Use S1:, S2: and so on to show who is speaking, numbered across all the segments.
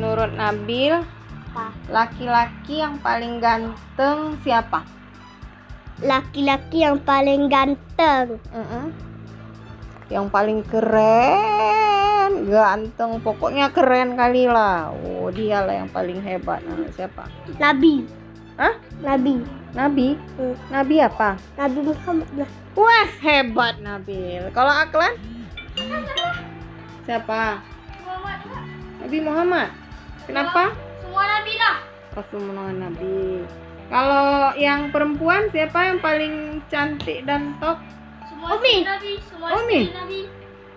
S1: Nabil,
S2: Apa?
S1: laki-laki yang paling ganteng siapa?
S2: Laki-laki yang paling ganteng.
S1: Yang paling keren, ganteng, pokoknya keren kali lah. Oh, dialah yang paling hebat. Nah, siapa?
S2: Nabi.
S1: Hah?
S2: Nabi.
S1: Nabi?
S2: Hmm.
S1: Nabi apa?
S2: Nabi Muhammad lah.
S1: Wah, hebat Nabil. Kalau Aklan? Siapa? Nabi Muhammad. Kenapa?
S2: Semua Nabi lah.
S1: Rasulullah Nabi. Kalau yang perempuan siapa yang paling cantik dan top?
S2: Semua
S1: Umi.
S2: istri Nabi. Semua
S1: Umi.
S2: istri Nabi.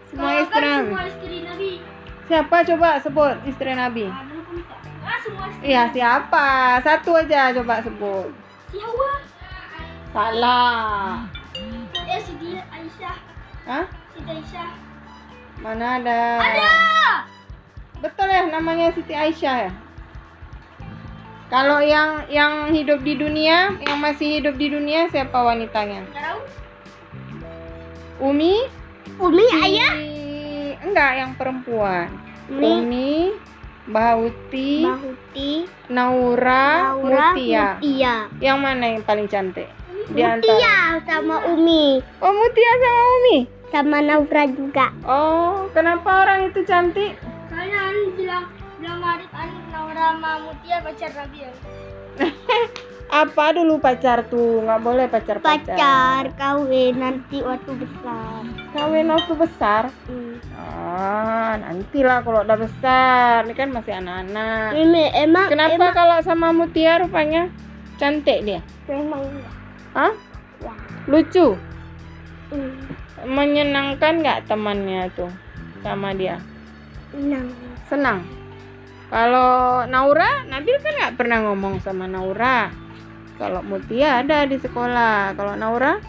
S1: Semua
S2: Kalau
S1: istri
S2: kan
S1: Nabi.
S2: Semua istri Nabi.
S1: Siapa coba sebut istri Nabi?
S2: Ah, dulu aku minta. Ah, semua istri.
S1: Iya, siapa? Satu aja coba sebut.
S2: Siapa?
S1: Salah.
S2: Eh, si dia Aisyah.
S1: Hah?
S2: Si Aisyah.
S1: Mana ada?
S2: Ah!
S1: Betul ya namanya Siti Aisyah ya? Kalau yang yang hidup di dunia, yang masih hidup di dunia siapa wanitanya?
S2: Nggak tahu.
S1: Umi?
S2: Umi
S1: Si- Enggak, yang perempuan.
S2: Umi.
S1: Umi, Bahauti,
S2: Bahuti.
S1: Naura,
S2: Laura.
S1: Mutia.
S2: Mutia.
S1: Yang mana yang paling cantik? Di antara-
S2: Mutia sama Umi.
S1: Oh, Mutia sama Umi.
S2: Sama Naura juga.
S1: Oh, kenapa orang itu cantik?
S2: Karena Anu bilang bilang Arif Anu Naura sama Mutia pacar Nabi ya.
S1: Apa dulu pacar tuh? Nggak boleh pacar-pacar.
S2: kawin nanti waktu besar. Hmm.
S1: Kawin waktu besar. Ah, nantilah kalau udah besar. Ini kan masih anak-anak.
S2: Mimi Ya, emang
S1: Kenapa kalau sama Mutia rupanya cantik dia?
S2: memang
S1: Hah?
S2: Wah.
S1: Lucu?
S2: Hmm.
S1: Menyenangkan nggak temannya tuh sama dia?
S2: enam
S1: Senang? Kalau Naura, Nabil kan nggak pernah ngomong sama Naura. Kalau Mutia ada di sekolah. Kalau Naura,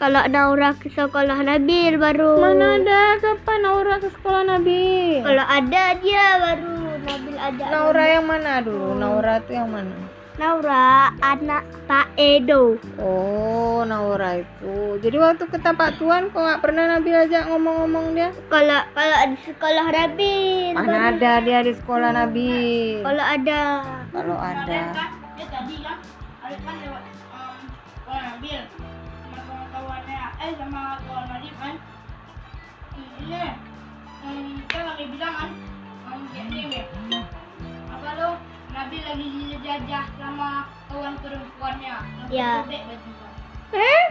S2: kalau Naura ke sekolah Nabil baru
S1: mana ada kapan Naura ke sekolah Nabil?
S2: kalau ada dia baru Nabil ada
S1: Naura yang mana dulu? Naura tuh yang mana?
S2: Naura anak Pak Edo
S1: Oh, Naura itu. Jadi waktu ke tapak tuan kok nggak pernah Nabil ajak ngomong-ngomong dia?
S2: kalau kalau di sekolah Nabil
S1: Mana ada dia di sekolah Nabil?
S2: kalau ada
S1: Kalau ada.
S2: dia tadi kan Arif kan lewat um, sekolah Nabil sama kawan-kawannya eh sama kawan Arif kan Hmm, ini um, kan lagi bilang kan um, kayak gini apa lo Nabil lagi dijajah sama kawan perempuannya ya
S1: Eh?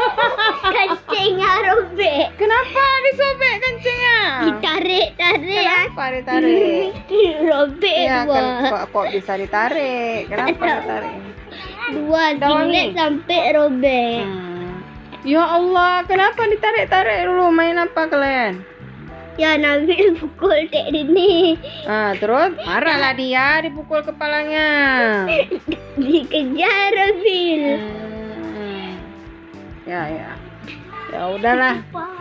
S2: kencingnya lah, robek
S1: Kenapa disobek kencingnya?
S2: ditarik tarik lah.
S1: Kenapa ditarik?
S2: robek
S1: Iya, kan, kok, kok bisa ditarik? Kenapa ditarik?
S2: dua
S1: Daunnya.
S2: jilid sampai robek
S1: Hmm. Ya Allah, kenapa ditarik-tarik dulu? Main apa kalian?
S2: Ya Nabil pukul dek Dini
S1: Ah, terus marahlah dia dipukul kepalanya.
S2: Dikejar Nabil
S1: Hmm. Ya, ya. Ya udahlah.
S2: Apa?